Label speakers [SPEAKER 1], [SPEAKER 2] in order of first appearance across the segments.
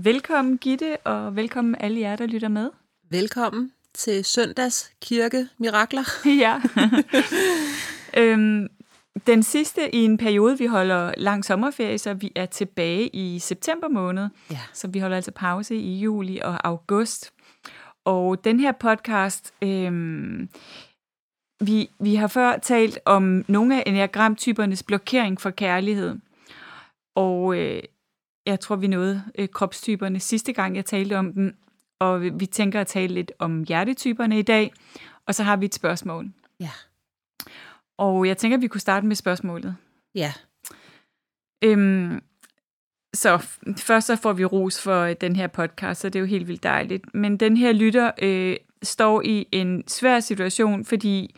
[SPEAKER 1] Velkommen Gitte, og velkommen alle jer, der lytter med.
[SPEAKER 2] Velkommen til søndags kirke mirakler.
[SPEAKER 1] ja. øhm, den sidste i en periode, vi holder lang sommerferie, så vi er tilbage i september måned.
[SPEAKER 2] Ja.
[SPEAKER 1] Så vi holder altså pause i juli og august. Og den her podcast, øhm, vi, vi har før talt om nogle af enagramtypernes blokering for kærlighed. Og øh, jeg tror, vi nåede øh, kropstyperne sidste gang, jeg talte om dem. Og vi- vi tænker at tale lidt om hjertetyperne i dag. Og så har vi et spørgsmål.
[SPEAKER 2] Ja.
[SPEAKER 1] Og jeg tænker, at vi kunne starte med spørgsmålet.
[SPEAKER 2] Ja.
[SPEAKER 1] Øhm, så f- først så får vi ros for øh, den her podcast, så det er jo helt vildt dejligt. Men den her lytter øh, står i en svær situation, fordi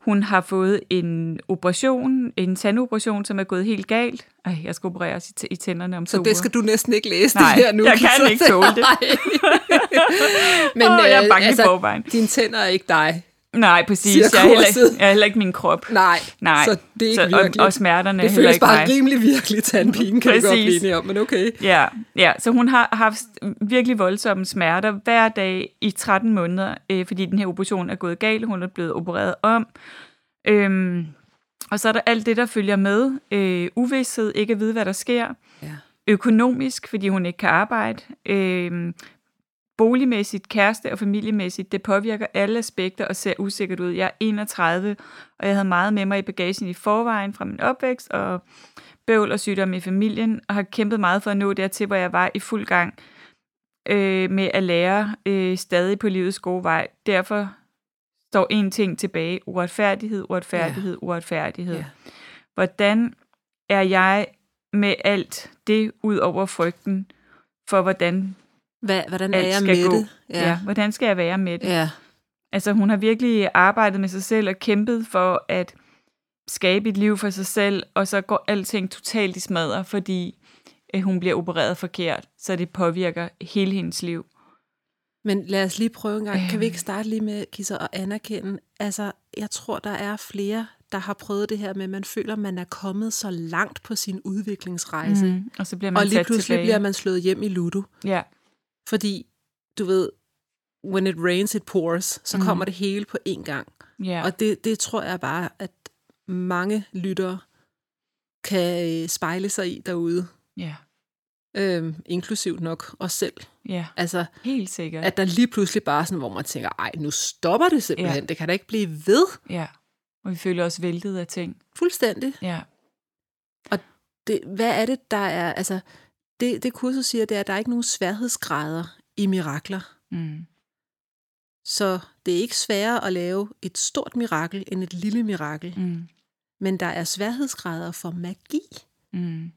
[SPEAKER 1] hun har fået en operation, en tandoperation, som er gået helt galt. Ej, jeg skal opereres i, t- i tænderne om
[SPEAKER 2] Så
[SPEAKER 1] to
[SPEAKER 2] det skal du næsten ikke læse
[SPEAKER 1] Nej,
[SPEAKER 2] det her nu.
[SPEAKER 1] jeg kan
[SPEAKER 2] så-
[SPEAKER 1] ikke tåle det.
[SPEAKER 2] Nej.
[SPEAKER 1] Men, Åh, jeg er
[SPEAKER 2] øh,
[SPEAKER 1] bange altså... i forvejen.
[SPEAKER 2] dine tænder er ikke dig.
[SPEAKER 1] Nej, præcis.
[SPEAKER 2] siger
[SPEAKER 1] Jeg er, heller,
[SPEAKER 2] korset.
[SPEAKER 1] ikke- jeg er heller ikke min krop.
[SPEAKER 2] Nej.
[SPEAKER 1] Nej,
[SPEAKER 2] Så det er ikke
[SPEAKER 1] så,
[SPEAKER 2] virkeligt.
[SPEAKER 1] og, og smerterne er
[SPEAKER 2] det
[SPEAKER 1] heller
[SPEAKER 2] føles
[SPEAKER 1] ikke
[SPEAKER 2] bare
[SPEAKER 1] mig.
[SPEAKER 2] rimelig virkelig tandpine, kan vi godt
[SPEAKER 1] Præcis.
[SPEAKER 2] blive enige om, men okay.
[SPEAKER 1] Ja, ja, så hun har haft virkelig voldsomme smerter hver dag i 13 måneder, øh, fordi den her operation er gået galt. Hun er blevet opereret om. Øhm, og så er der alt det, der følger med. Øh, uvidshed, ikke at vide, hvad der sker.
[SPEAKER 2] Ja.
[SPEAKER 1] Økonomisk, fordi hun ikke kan arbejde. Øh, boligmæssigt, kæreste og familiemæssigt. Det påvirker alle aspekter og ser usikkert ud. Jeg er 31, og jeg havde meget med mig i bagagen i forvejen fra min opvækst, og bøvl og sygdom i familien, og har kæmpet meget for at nå dertil, hvor jeg var i fuld gang øh, med at lære øh, stadig på livets gode vej. Derfor står én ting tilbage. Uretfærdighed, uretfærdighed, ja. uretfærdighed.
[SPEAKER 2] Ja.
[SPEAKER 1] Ja. Hvordan er jeg med alt det ud over frygten for, hvordan,
[SPEAKER 2] Hva, hvordan
[SPEAKER 1] Alt
[SPEAKER 2] er jeg
[SPEAKER 1] skal
[SPEAKER 2] med
[SPEAKER 1] gå.
[SPEAKER 2] det?
[SPEAKER 1] ja. Ja, hvordan skal jeg være med det?
[SPEAKER 2] ja.
[SPEAKER 1] Altså hun har virkelig arbejdet med sig selv og kæmpet for at skabe et liv for sig selv, og så går alting totalt i smadre, fordi øh, hun bliver opereret forkert, så det påvirker hele hendes liv.
[SPEAKER 2] Men lad os lige prøve en gang. Kan vi
[SPEAKER 1] Øhm.
[SPEAKER 2] ikke starte lige med, Kisser, at anerkende? Altså, jeg tror, der er flere, der har prøvet det her med, at man føler, at man er kommet så langt på sin udviklingsrejse. Mm.
[SPEAKER 1] Mm. Og så bliver man
[SPEAKER 2] Og lige
[SPEAKER 1] sat
[SPEAKER 2] pludselig
[SPEAKER 1] tilbage.
[SPEAKER 2] bliver man slået hjem i ludo.
[SPEAKER 1] Ja,
[SPEAKER 2] Fordi, du ved, when it rains, it pours, så
[SPEAKER 1] Mhm.
[SPEAKER 2] kommer det hele på én gang.
[SPEAKER 1] ja.
[SPEAKER 2] Og det, det tror jeg bare, at mange lyttere kan øh, spejle sig i derude.
[SPEAKER 1] ja,
[SPEAKER 2] Øhm, inklusiv nok os selv.
[SPEAKER 1] ja,
[SPEAKER 2] Altså,
[SPEAKER 1] helt sikkert.
[SPEAKER 2] at der lige pludselig bare er sådan, hvor man tænker, ej, nu stopper det simpelthen. Det kan da ikke blive ved
[SPEAKER 1] Ja. Og vi føler os væltet af ting.
[SPEAKER 2] fuldstændig.
[SPEAKER 1] Ja,
[SPEAKER 2] Det, hvad er det, der er, altså, det, det kursus siger, det er, at der er ikke nogen sværhedsgrader i mirakler.
[SPEAKER 1] mm.
[SPEAKER 2] Så det er ikke sværere at lave et stort mirakel end et lille mirakel.
[SPEAKER 1] Mm.
[SPEAKER 2] Men der er sværhedsgrader for magi.
[SPEAKER 1] Mm.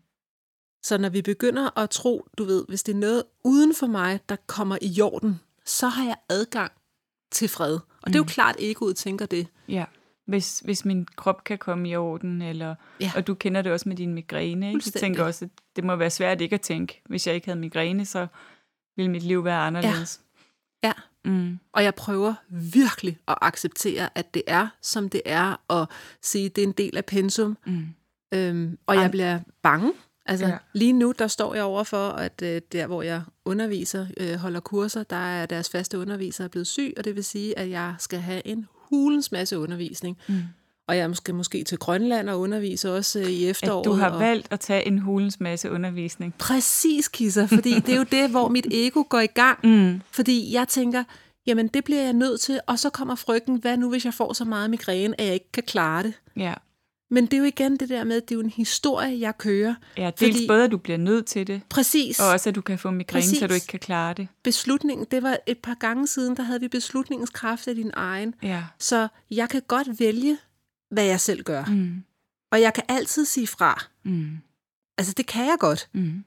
[SPEAKER 2] Så når vi begynder at tro, du ved, hvis det er noget uden for mig, der kommer i jorden, så har jeg adgang til fred. Og det er jo
[SPEAKER 1] Mm.
[SPEAKER 2] klart, at egoet tænker det.
[SPEAKER 1] ja. Hvis, hvis min krop kan komme i orden, eller,
[SPEAKER 2] Ja.
[SPEAKER 1] og du kender det også med din migræne, ikke? jeg
[SPEAKER 2] Fuldstændig.
[SPEAKER 1] tænker også, at det må være svært ikke at tænke, hvis jeg ikke havde migræne, så ville mit liv være anderledes.
[SPEAKER 2] Ja.
[SPEAKER 1] Mm.
[SPEAKER 2] Og jeg prøver virkelig at acceptere, at det er, som det er, og sige, at det er en del af pensum.
[SPEAKER 1] Mm.
[SPEAKER 2] Øhm, og
[SPEAKER 1] Ej.
[SPEAKER 2] jeg bliver bange. Altså,
[SPEAKER 1] Ja.
[SPEAKER 2] ja. lige nu, der står jeg over for, at øh, der, hvor jeg underviser, øh, holder kurser, der er deres faste underviser er blevet syg, og det vil sige, at jeg skal have en hulens masse undervisning.
[SPEAKER 1] Mm.
[SPEAKER 2] Og jeg skal måske til Grønland og undervise også øh, i efteråret.
[SPEAKER 1] At du har
[SPEAKER 2] og...
[SPEAKER 1] valgt at tage en hulens masse undervisning.
[SPEAKER 2] Præcis, Kisser, fordi det er jo det, hvor mit ego går i gang.
[SPEAKER 1] Mm.
[SPEAKER 2] Fordi jeg tænker, jamen det bliver jeg nødt til, og så kommer frygten, hvad nu hvis jeg får så meget migræne, at jeg ikke kan klare det?
[SPEAKER 1] Ja.
[SPEAKER 2] Men det er jo igen det der med, at det er jo en historie, jeg kører.
[SPEAKER 1] Ja, dels
[SPEAKER 2] Fordi-
[SPEAKER 1] Fordi... både, at du bliver nødt til det,
[SPEAKER 2] Præcis.
[SPEAKER 1] og også, at du kan få migræne, så du
[SPEAKER 2] Præcis.
[SPEAKER 1] ikke kan klare det.
[SPEAKER 2] Beslutningen, det var et par gange siden, der havde vi beslutningens kraft af din egen.
[SPEAKER 1] Ja.
[SPEAKER 2] Så jeg kan godt vælge, hvad jeg selv gør. Mm.
[SPEAKER 1] Mm.
[SPEAKER 2] Og jeg kan altid sige fra.
[SPEAKER 1] Mm.
[SPEAKER 2] Altså, det kan jeg godt.
[SPEAKER 1] Mm.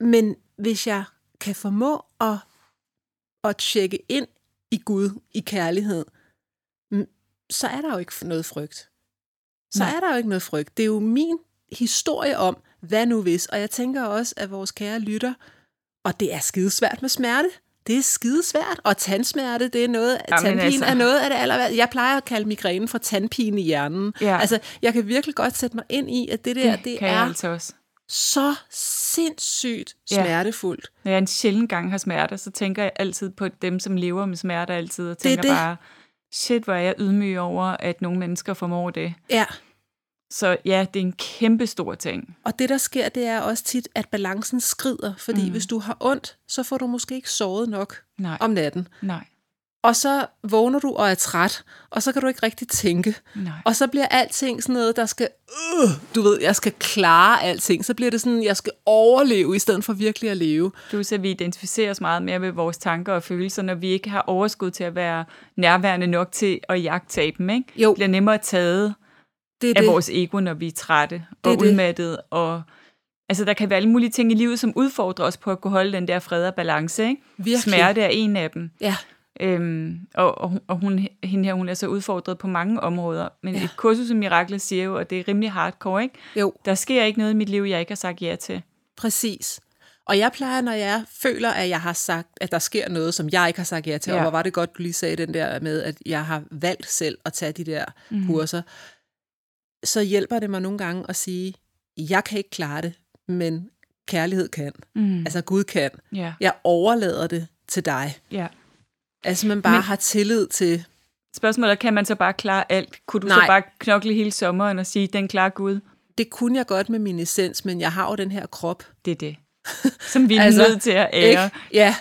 [SPEAKER 2] Men hvis jeg kan formå at, at tjekke ind i Gud, i kærlighed, mm, så er der jo ikke noget frygt. Så
[SPEAKER 1] Nej.
[SPEAKER 2] er der jo ikke noget frygt. Det er jo min historie om, hvad nu hvis. Og jeg tænker også, at vores kære lytter, og det er skidesvært med smerte. Det er skidesvært, og tandsmerte, det er noget,
[SPEAKER 1] Jamen,
[SPEAKER 2] tandpine altså.
[SPEAKER 1] altså.
[SPEAKER 2] er noget af det allerværste. Jeg plejer at kalde migrænen for tandpine i hjernen.
[SPEAKER 1] Ja.
[SPEAKER 2] Altså, jeg kan virkelig godt sætte mig ind i, at det der, det, det
[SPEAKER 1] kan jeg
[SPEAKER 2] er
[SPEAKER 1] altså også.
[SPEAKER 2] så sindssygt
[SPEAKER 1] Ja.
[SPEAKER 2] smertefuldt.
[SPEAKER 1] Når jeg en sjældent gang har smerter, så tænker jeg altid på dem, som lever med smerter altid, og
[SPEAKER 2] Det er
[SPEAKER 1] tænker
[SPEAKER 2] det.
[SPEAKER 1] bare, shit, hvor er jeg ydmyg over, at nogle mennesker formår det.
[SPEAKER 2] Ja.
[SPEAKER 1] Så ja, det er en kæmpe stor ting.
[SPEAKER 2] Og det, der sker, det er også tit, at balancen skrider, fordi mm. hvis du har ondt, så får du måske ikke sovet nok
[SPEAKER 1] Nej,
[SPEAKER 2] om natten.
[SPEAKER 1] nej,
[SPEAKER 2] Og så vågner du og er træt, og så kan du ikke rigtig tænke.
[SPEAKER 1] nej.
[SPEAKER 2] Og så bliver alting sådan noget, der skal, øh, du ved, jeg skal klare alting. Så bliver det sådan, jeg skal overleve, i stedet for virkelig at leve.
[SPEAKER 1] Plus at vi identificerer os meget mere med vores tanker og følelser, når vi ikke har overskud til at være nærværende nok til at jagtage dem. Ikke?
[SPEAKER 2] Jo.
[SPEAKER 1] Det bliver nemmere taget
[SPEAKER 2] Det er
[SPEAKER 1] af
[SPEAKER 2] det.
[SPEAKER 1] vores ego, når vi er trætte og
[SPEAKER 2] er det.
[SPEAKER 1] udmattede. Og, altså, der kan være alle mulige ting i livet, som udfordrer os på at kunne holde den der fred og balance. Ikke?
[SPEAKER 2] Virkelig.
[SPEAKER 1] Smerte er en af dem.
[SPEAKER 2] Ja,
[SPEAKER 1] Øhm, og, og, hun- og hun, hende her, hun er så udfordret på mange områder. Men ja. et kursus i mirakler siger jo, at det er rimelig hardcore, ikke?
[SPEAKER 2] jo.
[SPEAKER 1] Der sker ikke noget i mit liv, jeg ikke har sagt ja til.
[SPEAKER 2] Præcis. Og jeg plejer, når jeg føler, at jeg har sagt, at der sker noget, som jeg ikke har sagt ja til, ja. og
[SPEAKER 1] Ja.
[SPEAKER 2] hvor var det godt, du lige sagde den der med, at jeg har valgt selv at tage de der mm. kurser, så hjælper det mig nogle gange at sige, jeg kan ikke klare det, men kærlighed kan.
[SPEAKER 1] Mm.
[SPEAKER 2] Altså Gud kan.
[SPEAKER 1] Ja,
[SPEAKER 2] Jeg overlader det til dig.
[SPEAKER 1] ja.
[SPEAKER 2] Altså man bare men,
[SPEAKER 1] Men-
[SPEAKER 2] har tillid til,
[SPEAKER 1] Spørgsmålet er, kan man så bare klare alt? Kunne du
[SPEAKER 2] Nej.
[SPEAKER 1] så bare knokle hele sommeren og sige, den klarer Gud?
[SPEAKER 2] det kunne jeg godt med min essens, men jeg har jo den her krop.
[SPEAKER 1] Det er det. Som vi er
[SPEAKER 2] Altså,
[SPEAKER 1] altså, nødt til at ære. Ikke?
[SPEAKER 2] Ikke? Ja,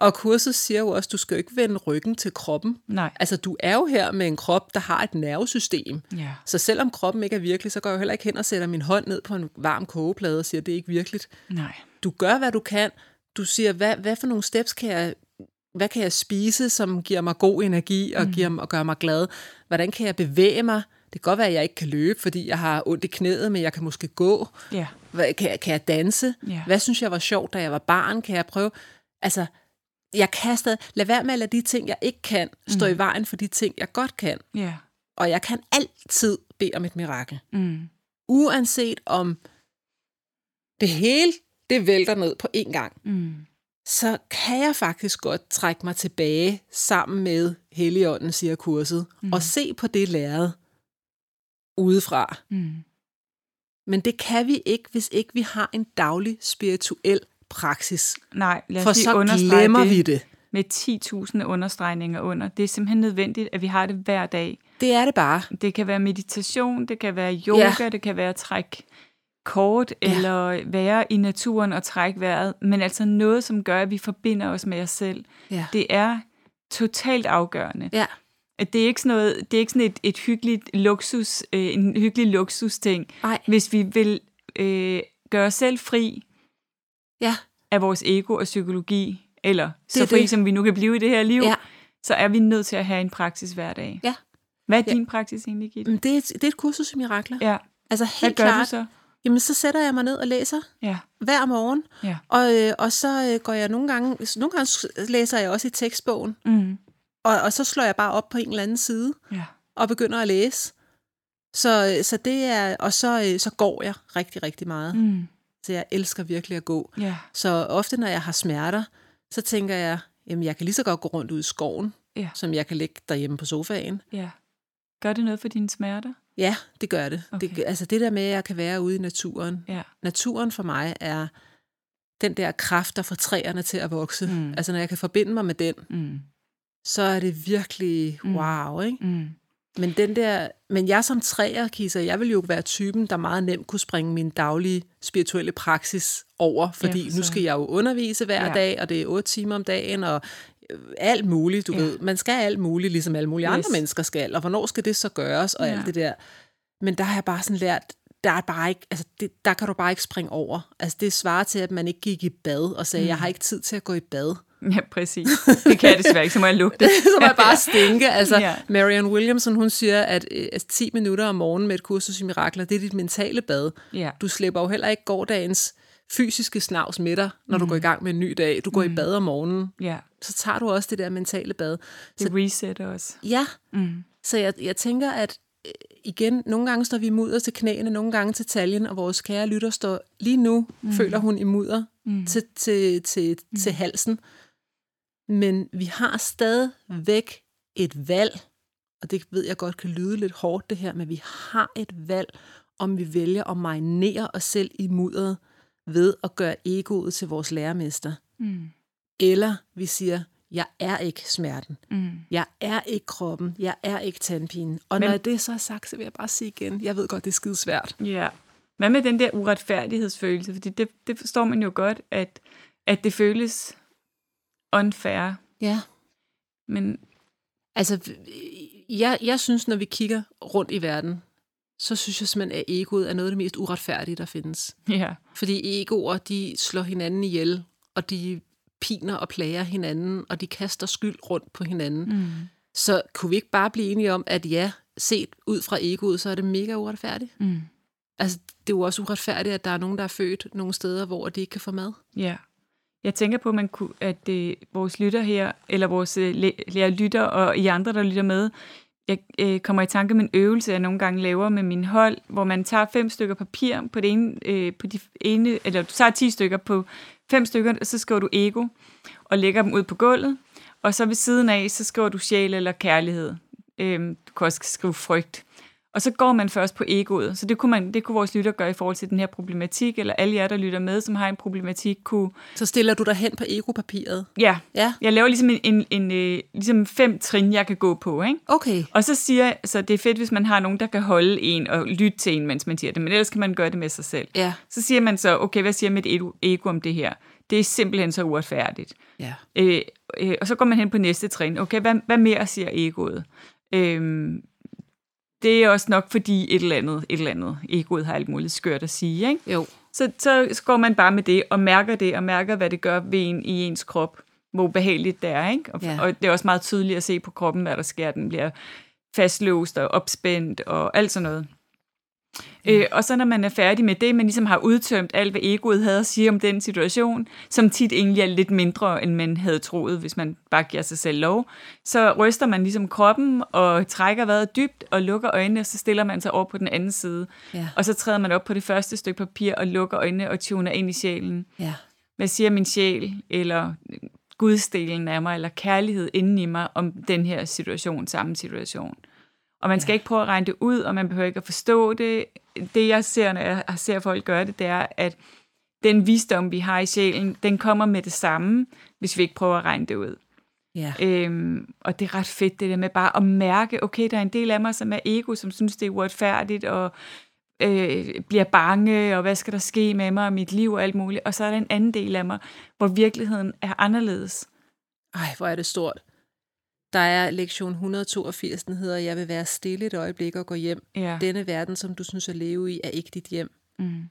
[SPEAKER 2] og kurset siger jo også, du skal jo ikke vende ryggen til kroppen.
[SPEAKER 1] Nej.
[SPEAKER 2] Altså, du er jo her med en krop, der har et nervesystem.
[SPEAKER 1] Ja.
[SPEAKER 2] Så selvom kroppen ikke er virkelig, så går jeg jo heller ikke hen og sætter min hånd ned på en varm kogeplade og siger, det er ikke virkeligt.
[SPEAKER 1] Nej.
[SPEAKER 2] Du gør, hvad du kan. Du siger, hvad, hvad for nogle steps kan jeg, hvad kan jeg spise, som giver mig god energi og, mm. giver, mig- og gør mig glad? Hvordan kan jeg bevæge mig? Det kan godt være, at jeg ikke kan løbe, fordi jeg har ondt i knæet, men jeg kan måske gå.
[SPEAKER 1] Ja.
[SPEAKER 2] Hvad, kan, jeg, kan jeg danse?
[SPEAKER 1] Ja.
[SPEAKER 2] Hvad synes jeg var sjovt, da jeg var barn? Kan jeg prøve? Altså, jeg kan stadig... Lad være med at lade de ting, jeg ikke kan, stå i vejen for de ting, jeg godt kan.
[SPEAKER 1] Ja.
[SPEAKER 2] Og jeg kan altid bede om et mirakel.
[SPEAKER 1] Mm.
[SPEAKER 2] Uanset om det hele, det vælter ned på én gang,
[SPEAKER 1] Mm.
[SPEAKER 2] så kan jeg faktisk godt trække mig tilbage sammen med Helligånden, siger kurset, mm. og se på det lærred udefra.
[SPEAKER 1] Mm.
[SPEAKER 2] Men det kan vi ikke, hvis ikke vi har en daglig spirituel praksis.
[SPEAKER 1] Nej, lad os
[SPEAKER 2] For
[SPEAKER 1] lige
[SPEAKER 2] så
[SPEAKER 1] understrege
[SPEAKER 2] glemmer
[SPEAKER 1] det.
[SPEAKER 2] vi det.
[SPEAKER 1] med 10.000 understregninger under. Det er simpelthen nødvendigt, at vi har det hver dag.
[SPEAKER 2] Det er det bare.
[SPEAKER 1] Det kan være meditation, det kan være yoga,
[SPEAKER 2] Ja.
[SPEAKER 1] ja. det kan være at trække kort, ja. eller være i naturen og trække vejret, men altså noget, som gør, at vi forbinder os med os selv.
[SPEAKER 2] Ja.
[SPEAKER 1] Det er totalt afgørende.
[SPEAKER 2] Ja.
[SPEAKER 1] At Det er ikke sådan, noget, det er ikke sådan et, et hyggeligt luksus, øh, en hyggelig luksusting.
[SPEAKER 2] Nej.
[SPEAKER 1] Hvis vi vil øh, gøre os selv fri
[SPEAKER 2] Ja.
[SPEAKER 1] af vores ego og psykologi, eller så
[SPEAKER 2] er
[SPEAKER 1] fri,
[SPEAKER 2] det.
[SPEAKER 1] som vi nu kan blive i det her liv,
[SPEAKER 2] Ja.
[SPEAKER 1] så er vi nødt til at have en praksis hver dag.
[SPEAKER 2] Ja.
[SPEAKER 1] Hvad er din praksis egentlig, Gitte?
[SPEAKER 2] Men det, er et, det er et kursus i mirakler.
[SPEAKER 1] Ja.
[SPEAKER 2] Altså helt
[SPEAKER 1] Hvad gør
[SPEAKER 2] klart.
[SPEAKER 1] du så?
[SPEAKER 2] Jamen, så sætter jeg mig ned og læser
[SPEAKER 1] Ja.
[SPEAKER 2] hver morgen.
[SPEAKER 1] Ja.
[SPEAKER 2] Og, øh, og så øh, går jeg nogle gange, nogle gange s- læser jeg også i tekstbogen,
[SPEAKER 1] Mm.
[SPEAKER 2] og, og så slår jeg bare op på en eller anden side
[SPEAKER 1] ja.
[SPEAKER 2] og begynder at læse. Så, øh, så det er, og så, øh, så går jeg rigtig, rigtig meget. Mm.
[SPEAKER 1] Mm.
[SPEAKER 2] Så jeg elsker virkelig at gå.
[SPEAKER 1] Ja.
[SPEAKER 2] Så ofte, når jeg har smerter, så tænker jeg, jamen jeg kan lige så godt gå rundt ud i skoven,
[SPEAKER 1] Ja.
[SPEAKER 2] som jeg kan ligge derhjemme på sofaen.
[SPEAKER 1] ja. Gør det noget for dine smerter?
[SPEAKER 2] Ja, det gør det. Okay. det
[SPEAKER 1] Okay.
[SPEAKER 2] altså det der med, at jeg kan være ude i naturen,
[SPEAKER 1] Ja.
[SPEAKER 2] naturen for mig er den der kraft, der får træerne til at vokse. Mm.
[SPEAKER 1] Mm.
[SPEAKER 2] Altså når jeg kan forbinde mig med den,
[SPEAKER 1] Mm. så
[SPEAKER 2] så er det virkelig wow, ikke?
[SPEAKER 1] Mm.
[SPEAKER 2] Men, den der, men jeg som træer, Kisa, jeg vil jo være typen, der meget nemt kunne springe min daglige spirituelle praksis over, fordi
[SPEAKER 1] for
[SPEAKER 2] ja, nu
[SPEAKER 1] søren.
[SPEAKER 2] skal jeg jo undervise hver ja.
[SPEAKER 1] Ja.
[SPEAKER 2] dag, og det er otte timer om dagen, og øh, alt muligt, du
[SPEAKER 1] Ja.
[SPEAKER 2] ja. ved. Man skal alt muligt, ligesom alle mulige yes. andre
[SPEAKER 1] Yes.
[SPEAKER 2] mennesker skal, og hvornår skal det så gøres, og ja.
[SPEAKER 1] Ja.
[SPEAKER 2] alt det der. Men der har jeg bare sådan lært, der, er bare ikke, altså det, der kan du bare ikke springe over. Altså det svarer til, at man ikke gik i bad og sagde, mm. jeg har ikke tid til at gå i bad.
[SPEAKER 1] Ja, præcis. Det kan jeg desværre ikke, så må jeg lukke det.
[SPEAKER 2] så må jeg bare stinke. Altså,
[SPEAKER 1] Ja.
[SPEAKER 2] ja. Marianne Williamson, hun siger, at øh, altså, 10 minutter om morgenen med et kursus i mirakler, det er dit mentale bad.
[SPEAKER 1] Ja.
[SPEAKER 2] Du slipper jo heller ikke gårdagens fysiske snavs med dig, når mm.
[SPEAKER 1] Mhm.
[SPEAKER 2] du går i gang med en ny dag. Du går mm. i bad om morgenen.
[SPEAKER 1] Ja,
[SPEAKER 2] Så tager du også det der mentale bad.
[SPEAKER 1] det resetter os.
[SPEAKER 2] Ja,
[SPEAKER 1] Mm.
[SPEAKER 2] så jeg, jeg tænker, at øh, igen, nogle gange står vi i mudder til knæene, nogle gange til taljen, og vores kære lytter står lige nu, mm. føler hun i mudder mm. til, til, til, mm. til halsen. Men vi har stadigvæk et valg, og det ved jeg godt kan lyde lidt hårdt det her, men vi har et valg, om vi vælger at marinere os selv i mudderet ved at gøre egoet til vores lærermester.
[SPEAKER 1] Mm.
[SPEAKER 2] Eller vi siger, jeg er ikke smerten.
[SPEAKER 1] Mm.
[SPEAKER 2] Jeg er ikke kroppen. Jeg er ikke tandpinen.
[SPEAKER 1] Men-
[SPEAKER 2] Og Men... når det så er sagt, så vil jeg bare sige igen, jeg ved godt, det er skide svært.
[SPEAKER 1] Ja. Hvad med den der uretfærdighedsfølelse? Fordi det, det forstår man jo godt, at, at det føles unfair.
[SPEAKER 2] Ja.
[SPEAKER 1] Men
[SPEAKER 2] Altså, jeg, jeg synes, når vi kigger rundt i verden, så synes jeg simpelthen, at egoet er noget af det mest uretfærdige, der findes.
[SPEAKER 1] ja,
[SPEAKER 2] Fordi egoer, de slår hinanden ihjel, og de piner og plager hinanden, og de kaster skyld rundt på hinanden.
[SPEAKER 1] mm.
[SPEAKER 2] Så kunne vi ikke bare blive enige om, at ja, set ud fra egoet, så er det mega uretfærdigt?
[SPEAKER 1] Mm.
[SPEAKER 2] Altså, det er jo også uretfærdigt, at der er nogen, der er født nogle steder, hvor de ikke kan få mad.
[SPEAKER 1] ja. Jeg tænker på, at, man kunne, at øh, vores lytter her, eller vores øh, læ- lærer lytter og I andre, der lytter med, jeg øh, kommer i tanke om en øvelse, jeg nogle gange laver med min hold, hvor man tager fem stykker papir på det ene, øh, på de ene eller du tager ti stykker på fem stykker, og så skriver du ego, og lægger dem ud på gulvet, og så ved siden af, så skriver du sjæl eller kærlighed. Øhm, du kan også skrive frygt. Og så går man først på egoet. Så det kunne, man, det kunne vores lytter gøre i forhold til den her problematik, eller alle jer, der lytter med, som har en problematik, kunne...
[SPEAKER 2] Så stiller du dig hen på egopapiret.
[SPEAKER 1] Ja,
[SPEAKER 2] Ja,
[SPEAKER 1] jeg laver ligesom, en, en, en, øh, ligesom fem trin, jeg kan gå på, ikke?
[SPEAKER 2] okay.
[SPEAKER 1] Og så siger jeg, så det er fedt, hvis man har nogen, der kan holde en og lytte til en, mens man siger det, men ellers kan man gøre det med sig selv.
[SPEAKER 2] Ja.
[SPEAKER 1] Så siger man så, okay, hvad siger mit ego- ego om det her? Det er simpelthen så uretfærdigt.
[SPEAKER 2] Ja.
[SPEAKER 1] Øh, øh, og så går man hen på næste trin. Okay, hvad, hvad mere siger egoet? Øhm, det er også nok fordi et eller andet, et eller andet. Egoet har alt muligt skørt at sige, ikke?
[SPEAKER 2] Jo.
[SPEAKER 1] Så, så, så går man bare med det og mærker det, og mærker, hvad det gør ved en i ens krop, hvor ubehageligt det er. Ikke? Og,
[SPEAKER 2] Ja.
[SPEAKER 1] og det er også meget tydeligt at se på kroppen, hvad der sker. Den bliver fastlåst og opspændt og alt sådan noget. Øh, og så når man er færdig med det, man ligesom har udtømt alt, hvad egoet havde at sige om den situation, som tit egentlig er lidt mindre, end man havde troet, hvis man bare giver sig selv lov, så ryster man ligesom kroppen og trækker vejret dybt og lukker øjnene, og så stiller man sig over på den anden side.
[SPEAKER 2] Ja.
[SPEAKER 1] Og så træder man op på det første stykke papir og lukker øjnene og tuner ind i sjælen.
[SPEAKER 2] Ja.
[SPEAKER 1] Hvad siger min sjæl, eller øh, gudsdelen af mig, eller kærlighed inden i mig om den her situation, samme situation? Og man skal ja. ikke prøve at regne det ud, og man behøver ikke at forstå det. Det jeg ser, når jeg ser folk gøre det, det er, at den visdom, vi har i sjælen, den kommer med det samme, hvis vi ikke prøver at regne det ud.
[SPEAKER 2] Ja.
[SPEAKER 1] Øhm, og det er ret fedt, det der med bare at mærke, okay, der er en del af mig, som er ego, som synes, det er uretfærdigt, og øh, bliver bange, og hvad skal der ske med mig og mit liv og alt muligt. Og så er der en anden del af mig, hvor virkeligheden er anderledes.
[SPEAKER 2] Ej, hvor er det stort. Der er lektion 182, den hedder, jeg vil være stille et øjeblik og gå hjem.
[SPEAKER 1] Ja.
[SPEAKER 2] Denne verden, som du synes at leve i, er ikke dit hjem.
[SPEAKER 1] Mm.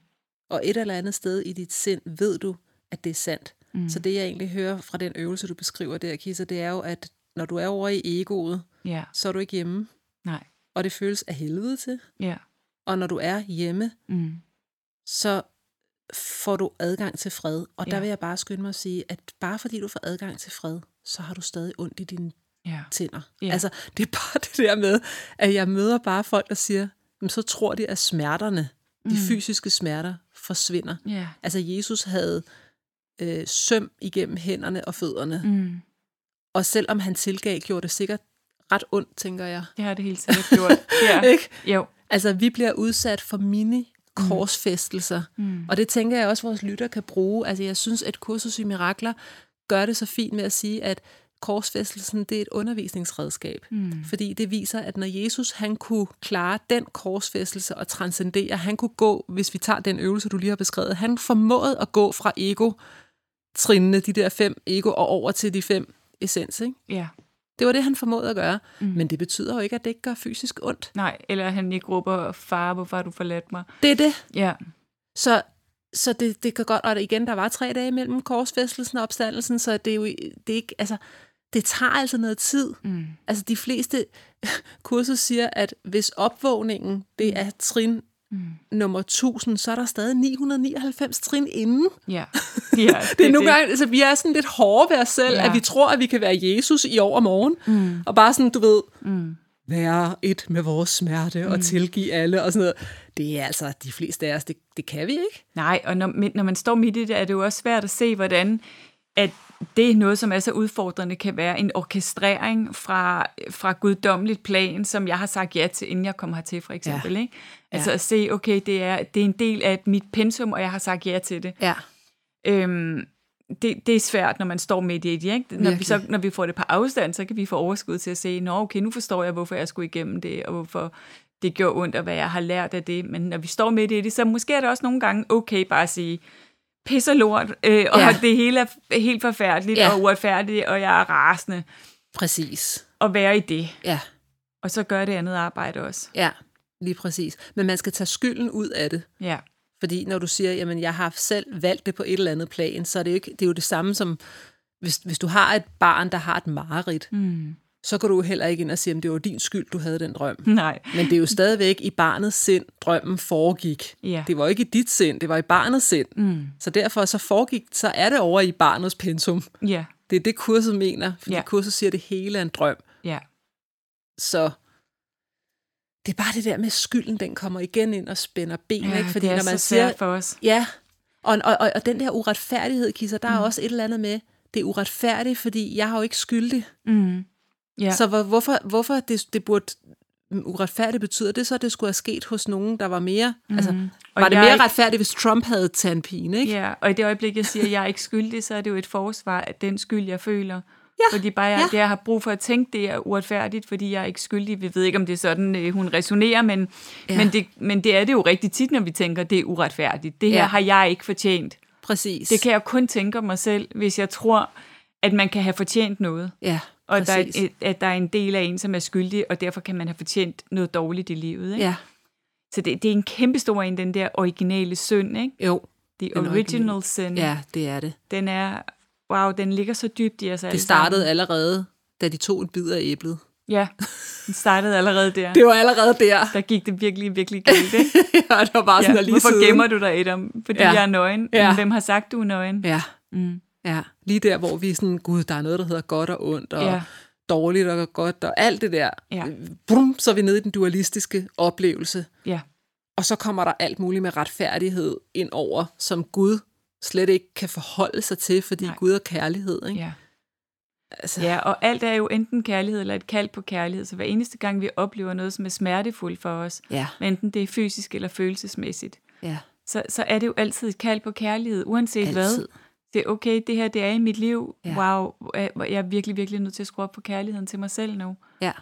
[SPEAKER 2] Og et eller andet sted i dit sind ved du, at det er sandt.
[SPEAKER 1] Mm.
[SPEAKER 2] Mm. Så det, jeg egentlig hører fra den øvelse, du beskriver der, Kissa, det er jo, at når du er over i egoet,
[SPEAKER 1] Ja,
[SPEAKER 2] så er du ikke hjemme,
[SPEAKER 1] nej,
[SPEAKER 2] og det føles af helvede til.
[SPEAKER 1] ja.
[SPEAKER 2] Og når du er hjemme,
[SPEAKER 1] Mm.
[SPEAKER 2] så får du adgang til fred. Og der
[SPEAKER 1] Ja.
[SPEAKER 2] vil jeg bare skynde mig at sige, at bare fordi du får adgang til fred, så har du stadig ondt i dine
[SPEAKER 1] Ja.
[SPEAKER 2] tænder.
[SPEAKER 1] Ja.
[SPEAKER 2] Ja. Altså, det er bare det der med, at jeg møder bare folk, der siger, "Jamen, så tror de, at smerterne, de
[SPEAKER 1] Mm.
[SPEAKER 2] fysiske smerter, forsvinder.
[SPEAKER 1] Ja.
[SPEAKER 2] Altså, Jesus havde øh, søm igennem hænderne og fødderne. Mm.
[SPEAKER 1] Mm.
[SPEAKER 2] Og selvom han tilgav, gjorde det sikkert ret ondt, tænker jeg.
[SPEAKER 1] Det har det helt sikkert gjort. Ja.
[SPEAKER 2] Ikke?
[SPEAKER 1] Jo.
[SPEAKER 2] Altså, vi bliver udsat for mini korsfæstelser.
[SPEAKER 1] Mm.
[SPEAKER 2] Og det tænker jeg også, vores lytter kan bruge. Altså, jeg synes, at kursus i mirakler gør det så fint med at sige, at korsfæstelsen, det er et undervisningsredskab.
[SPEAKER 1] Mm.
[SPEAKER 2] Fordi det viser, at når Jesus, han kunne klare den korsfæstelse og transcendere, han kunne gå, hvis vi tager den øvelse, du lige har beskrevet, han formåede at gå fra ego trinene, de der fem ego, og over til de fem essens. Ikke?
[SPEAKER 1] Ja.
[SPEAKER 2] Det var det, han formåede at gøre.
[SPEAKER 1] Mm.
[SPEAKER 2] Mm. Men det betyder jo ikke, at det ikke gør fysisk ondt.
[SPEAKER 1] Nej, eller han ikke råber, far, hvorfor har du forladt mig?
[SPEAKER 2] Det er det.
[SPEAKER 1] Ja,
[SPEAKER 2] Så, så det, det kan godt... Og igen, der var tre dage mellem korsfæstelsen og opstandelsen, så det er jo det er ikke... Altså, det tager altså noget tid.
[SPEAKER 1] mm.
[SPEAKER 2] Altså, de fleste kurser siger, at hvis opvågningen det er trin
[SPEAKER 1] Mm.
[SPEAKER 2] nummer 1000, så er der stadig 999 trin inden.
[SPEAKER 1] ja. ja
[SPEAKER 2] Det er nogle gange, altså vi er sådan lidt hårde ved os selv,
[SPEAKER 1] Ja.
[SPEAKER 2] ja. at vi tror, at vi kan være Jesus i overmorgen.
[SPEAKER 1] Mm.
[SPEAKER 2] Og bare sådan, du ved,
[SPEAKER 1] Mm.
[SPEAKER 2] være et med vores smerte mm. og tilgive alle og sådan noget. Det er altså de fleste af os, det, det kan vi ikke.
[SPEAKER 1] Nej, og når, men når man står midt i det, er det jo også svært at se, hvordan at det er noget, som er så udfordrende, kan være en orkestrering fra, fra guddommeligt plan, som jeg har sagt ja til, inden jeg kom hertil, for eksempel. Ja. Ikke? Altså
[SPEAKER 2] Ja.
[SPEAKER 1] at se, okay, det er, det er en del af mit pensum, og jeg har sagt ja til det.
[SPEAKER 2] Ja.
[SPEAKER 1] Øhm, det, det er svært, når man står midt i det. Ikke? Når, vi
[SPEAKER 2] Virkelig.
[SPEAKER 1] så, når vi får det på afstand, så kan vi få overskud til at se, nå okay, nu forstår jeg, hvorfor jeg skulle igennem det, og hvorfor det gjorde ondt, og hvad jeg har lært af det. Men når vi står midt i det, så måske er det også nogle gange okay bare at sige, pisser lort, øh, og ja.
[SPEAKER 2] Ja.
[SPEAKER 1] det hele er f- helt forfærdeligt ja.
[SPEAKER 2] Ja.
[SPEAKER 1] og uretfærdigt, og jeg er rasende
[SPEAKER 2] Præcis.
[SPEAKER 1] at være i det.
[SPEAKER 2] Ja,
[SPEAKER 1] Og så gør det andet arbejde også.
[SPEAKER 2] ja, lige præcis. Men man skal tage skylden ud af det.
[SPEAKER 1] Ja,
[SPEAKER 2] Fordi når du siger, jamen jeg har selv valgt det på et eller andet plan, så er det jo, ikke, det er jo det samme som, hvis, hvis du har et barn, der har et mareridt,
[SPEAKER 1] mm.
[SPEAKER 2] så går du jo heller ikke ind og sige, at det var din skyld, du havde den drøm.
[SPEAKER 1] nej,
[SPEAKER 2] Men det er jo stadigvæk i barnets sind, drømmen foregik.
[SPEAKER 1] Ja.
[SPEAKER 2] Det var ikke i dit sind, det var i barnets sind.
[SPEAKER 1] Mm.
[SPEAKER 2] Så derfor så foregik, så er det over i barnets pensum.
[SPEAKER 1] ja,
[SPEAKER 2] Det er det, kurset mener, fordi
[SPEAKER 1] Ja.
[SPEAKER 2] ja. kurset siger, at det hele er en drøm.
[SPEAKER 1] ja,
[SPEAKER 2] Så det er bare det der med skylden, den kommer igen ind og spænder ben,
[SPEAKER 1] ja
[SPEAKER 2] ikke? Fordi
[SPEAKER 1] det er
[SPEAKER 2] når man
[SPEAKER 1] så
[SPEAKER 2] siger,
[SPEAKER 1] svært for os.
[SPEAKER 2] Ja, og, og, og, og den der uretfærdighed, Kisser, der mm. er også et eller andet med, det er uretfærdigt, fordi jeg har jo ikke skyldig.
[SPEAKER 1] Mm. Ja.
[SPEAKER 2] Ja. Så hvor, hvorfor, hvorfor det, det burde mm, uretfærdigt betyder det så, at det skulle have sket hos nogen, der var mere... Mm. Altså,
[SPEAKER 1] Mhm. Og
[SPEAKER 2] var det
[SPEAKER 1] jeg
[SPEAKER 2] mere
[SPEAKER 1] er ikke-
[SPEAKER 2] retfærdigt, hvis Trump havde taget en pine, ikke?
[SPEAKER 1] Ja, og i det øjeblik, jeg siger, at jeg er ikke skyldig, så er det jo et forsvar af den skyld, jeg føler. Ja, fordi bare jeg, ja.
[SPEAKER 2] ja.
[SPEAKER 1] det, jeg har brug for at tænke, det er uretfærdigt, fordi jeg er ikke skyldig. Vi ved ikke, om det er sådan, øh, hun resonerer, men, ja.
[SPEAKER 2] Ja.
[SPEAKER 1] men, det, men det er det jo rigtig tit, når vi tænker, det er uretfærdigt. Det her ja.
[SPEAKER 2] Ja.
[SPEAKER 1] har jeg ikke fortjent.
[SPEAKER 2] Præcis.
[SPEAKER 1] Det kan jeg kun tænke om mig selv, hvis jeg tror, at man kan have fortjent noget.
[SPEAKER 2] Ja,
[SPEAKER 1] Og der er,
[SPEAKER 2] præcis.
[SPEAKER 1] et- at der er en del af en, som er skyldig, og derfor kan man have fortjent noget dårligt i livet. Ikke?
[SPEAKER 2] Ja,
[SPEAKER 1] Så det, det er en kæmpe stor en, den der originale synd. Ikke?
[SPEAKER 2] jo.
[SPEAKER 1] The
[SPEAKER 2] Den
[SPEAKER 1] original
[SPEAKER 2] originale-
[SPEAKER 1] sin.
[SPEAKER 2] Ja, det er det.
[SPEAKER 1] den Mm. er, wow, den ligger så dybt i os alle
[SPEAKER 2] Det startede allerede, da de tog en bid af
[SPEAKER 1] sammen.
[SPEAKER 2] æblet.
[SPEAKER 1] Ja, den startede allerede der.
[SPEAKER 2] Det var allerede der.
[SPEAKER 1] Der gik det virkelig, virkelig galt, ikke?
[SPEAKER 2] ja, det var bare sådan,
[SPEAKER 1] Ja,
[SPEAKER 2] at lige
[SPEAKER 1] hvorfor
[SPEAKER 2] siden.
[SPEAKER 1] gemmer du dig et om? Fordi ja.
[SPEAKER 2] Ja.
[SPEAKER 1] jeg er nøgen. Ja.
[SPEAKER 2] Ja.
[SPEAKER 1] Hvem har sagt, du er nøgen?
[SPEAKER 2] Ja,
[SPEAKER 1] Mm.
[SPEAKER 2] ja. Lige der, hvor vi er sådan, gud, der er noget, der hedder godt og ondt, og
[SPEAKER 1] Ja.
[SPEAKER 2] ja. dårligt og godt, og alt det der. Øh,
[SPEAKER 1] Ja.
[SPEAKER 2] Brum, så er vi nede i den dualistiske oplevelse.
[SPEAKER 1] ja,
[SPEAKER 2] Og så kommer der alt muligt med retfærdighed ind over, som Gud slet ikke kan forholde sig til, fordi
[SPEAKER 1] Nej.
[SPEAKER 2] Nej. Gud er kærlighed. Ikke?
[SPEAKER 1] ja.
[SPEAKER 2] Altså,
[SPEAKER 1] Ja, og alt er jo enten kærlighed eller et kald på kærlighed. Så hver eneste gang, vi oplever noget, som er smertefuldt for os,
[SPEAKER 2] ja,
[SPEAKER 1] hvad enten det er fysisk eller følelsesmæssigt,
[SPEAKER 2] ja.
[SPEAKER 1] så, så er det jo altid et kald på kærlighed, uanset hvad.
[SPEAKER 2] Altid.
[SPEAKER 1] det er okay, det her det er i mit liv. Ja.
[SPEAKER 2] Ja.
[SPEAKER 1] Wow, hvor jeg er virkelig, virkelig nødt til at skrue op på kærligheden til mig selv nu.
[SPEAKER 2] ja.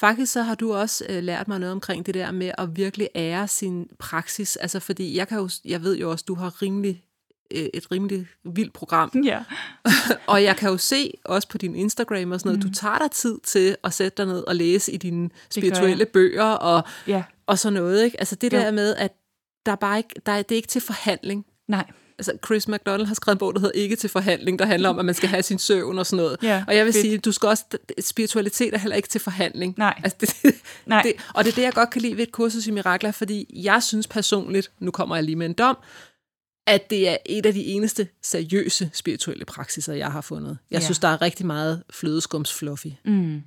[SPEAKER 2] Faktisk så har du også øh, lært mig noget omkring det der med at virkelig ære sin praksis. Altså fordi jeg, kan jo, jeg ved jo også, du har rimelig, øh, et rimelig vildt program.
[SPEAKER 1] Ja.
[SPEAKER 2] Og jeg kan jo se, også på din Instagram og sådan noget, mm. du tager dig tid til at sætte dig ned og læse i dine spirituelle bøger og,
[SPEAKER 1] Ja,
[SPEAKER 2] og sådan noget. Ikke? Altså det
[SPEAKER 1] Jo.
[SPEAKER 2] der med, at der er bare ikke, der er, det er ikke til forhandling.
[SPEAKER 1] nej.
[SPEAKER 2] Altså Chris McDonald har skrevet en bog, der hedder Ikke til forhandling, der handler om, at man skal have sin søvn og sådan noget.
[SPEAKER 1] Ja,
[SPEAKER 2] og jeg vil
[SPEAKER 1] fedt.
[SPEAKER 2] fedt. sige, du skal også, spiritualitet er heller ikke til forhandling.
[SPEAKER 1] Nej.
[SPEAKER 2] Altså, det,
[SPEAKER 1] Nej.
[SPEAKER 2] Det, og det er det, jeg godt kan lide ved et kursus i mirakler, fordi jeg synes personligt, nu kommer jeg lige med en dom, at det er et af de eneste seriøse spirituelle praksiser, jeg har fundet. Jeg
[SPEAKER 1] Ja.
[SPEAKER 2] ja. synes, der er rigtig meget flødeskumsfluffy,
[SPEAKER 1] Mm.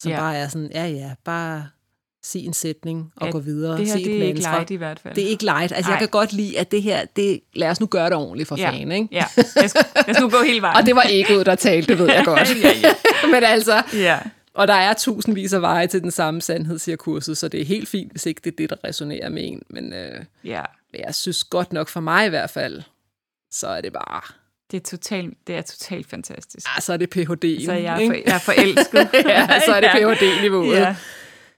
[SPEAKER 2] som
[SPEAKER 1] Ja.
[SPEAKER 2] ja. bare er sådan, ja ja, bare sig en sætning og
[SPEAKER 1] Ja,
[SPEAKER 2] gå videre.
[SPEAKER 1] Det her
[SPEAKER 2] sig et
[SPEAKER 1] det er ikke
[SPEAKER 2] mantra.
[SPEAKER 1] light i hvert fald.
[SPEAKER 2] Det er ikke light. Altså,
[SPEAKER 1] Nej.
[SPEAKER 2] jeg kan godt lide, at det her, det, lad os nu gøre det ordentligt for
[SPEAKER 1] ja.
[SPEAKER 2] ja. fanden, ikke?
[SPEAKER 1] Ja, jeg skulle, jeg skulle gå hele vejen.
[SPEAKER 2] Og det var egoet, der talte, det ved jeg godt.
[SPEAKER 1] Ja, ja.
[SPEAKER 2] Men altså,
[SPEAKER 1] ja.
[SPEAKER 2] og der er tusindvis af veje til den samme sandhed, siger kurset, så det er helt fint, hvis ikke det er det, der resonerer med en. Men øh,
[SPEAKER 1] ja,
[SPEAKER 2] jeg synes godt nok for mig i hvert fald, så er det bare,
[SPEAKER 1] det er totalt, det er totalt fantastisk.
[SPEAKER 2] ah, så er det PHD'en.
[SPEAKER 1] Så jeg er, for,
[SPEAKER 2] ikke?
[SPEAKER 1] jeg er forelsket.
[SPEAKER 2] ja, så er det
[SPEAKER 1] Ja.
[SPEAKER 2] PHD-niveauet.
[SPEAKER 1] Ja.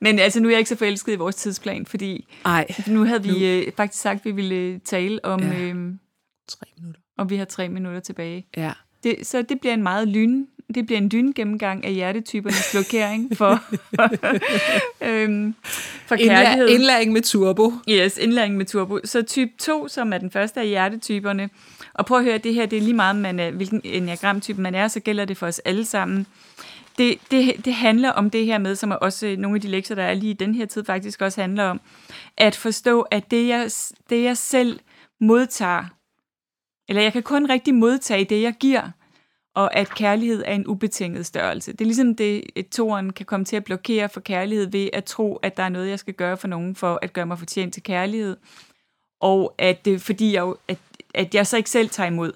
[SPEAKER 1] Men altså, nu er jeg ikke så forelsket i vores tidsplan, fordi
[SPEAKER 2] Ej,
[SPEAKER 1] nu havde vi øh, faktisk sagt, at vi ville øh, tale om, ja.
[SPEAKER 2] Ja.
[SPEAKER 1] øh,
[SPEAKER 2] tre minutter.
[SPEAKER 1] om vi har tre minutter tilbage.
[SPEAKER 2] Ja.
[SPEAKER 1] Det, så det bliver en meget lyn, det bliver en dyne gennemgang af hjertetypernes blokering for, øhm, for kærlighed.
[SPEAKER 2] Indlæ- indlæring med turbo.
[SPEAKER 1] Yes, indlæring med turbo. Så type 2, som er den første af hjertetyperne. Og prøv at høre, det her det er lige meget, man er, hvilken enagramtype man er, så gælder det for os alle sammen. Det, det, det handler om det her med, som er også øh, nogle af de lektier, der er lige i den her tid faktisk også handler om, at forstå, at det jeg, det jeg selv modtager, eller jeg kan kun rigtig modtage det, jeg giver, og at kærlighed er en ubetinget størrelse. Det er ligesom det, at toren kan komme til at blokere for kærlighed ved at tro, at der er noget, jeg skal gøre for nogen for at gøre mig fortjent til kærlighed, og at det fordi jeg, jo- at, at jeg så ikke selv tager imod.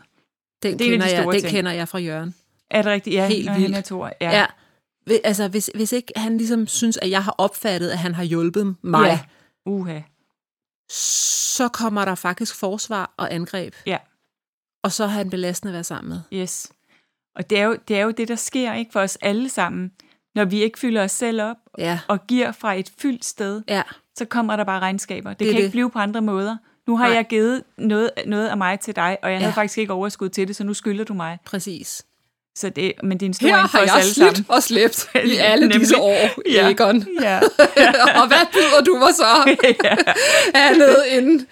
[SPEAKER 2] Den,
[SPEAKER 1] Det er en af
[SPEAKER 2] kender,
[SPEAKER 1] de
[SPEAKER 2] jeg,
[SPEAKER 1] store
[SPEAKER 2] den
[SPEAKER 1] ting.
[SPEAKER 2] kender jeg fra Jørgen.
[SPEAKER 1] Er det rigtigt? Ja,
[SPEAKER 2] Helt
[SPEAKER 1] når han
[SPEAKER 2] vildt.
[SPEAKER 1] er toer. Ja.
[SPEAKER 2] Ja.
[SPEAKER 1] ja.
[SPEAKER 2] ja. Hvi- Altså, hvis, hvis ikke han ligesom synes, at jeg har opfattet, at han har hjulpet mig,
[SPEAKER 1] Ja.
[SPEAKER 2] ja.
[SPEAKER 1] Uha.
[SPEAKER 2] så kommer der faktisk forsvar og angreb.
[SPEAKER 1] Ja.
[SPEAKER 2] Og så har han belastende at være sammen med.
[SPEAKER 1] Yes. Og det er, jo, det er jo det, der sker ikke for os alle sammen. Når vi ikke fylder os selv op
[SPEAKER 2] Ja.
[SPEAKER 1] og giver fra et fyldt sted,
[SPEAKER 2] Ja.
[SPEAKER 1] så kommer der bare regnskaber. Det, det
[SPEAKER 2] er
[SPEAKER 1] kan det. ikke
[SPEAKER 2] det.
[SPEAKER 1] blive på andre måder. Nu har Nej.
[SPEAKER 2] Nej.
[SPEAKER 1] jeg givet noget, noget af mig til dig, og jeg havde
[SPEAKER 2] Ja.
[SPEAKER 1] faktisk ikke overskud til det, så nu skylder du mig.
[SPEAKER 2] Præcis.
[SPEAKER 1] Så det, men det er en stor
[SPEAKER 2] Her
[SPEAKER 1] en for
[SPEAKER 2] har
[SPEAKER 1] os
[SPEAKER 2] jeg
[SPEAKER 1] alle
[SPEAKER 2] slidt
[SPEAKER 1] sammen.
[SPEAKER 2] og slæbt i alle
[SPEAKER 1] Nemlig.
[SPEAKER 2] Nemlig. disse år,
[SPEAKER 1] Ja.
[SPEAKER 2] ja. Egon.
[SPEAKER 1] Ja.
[SPEAKER 2] og hvad byder du mig så?
[SPEAKER 1] ja,
[SPEAKER 2] Andet end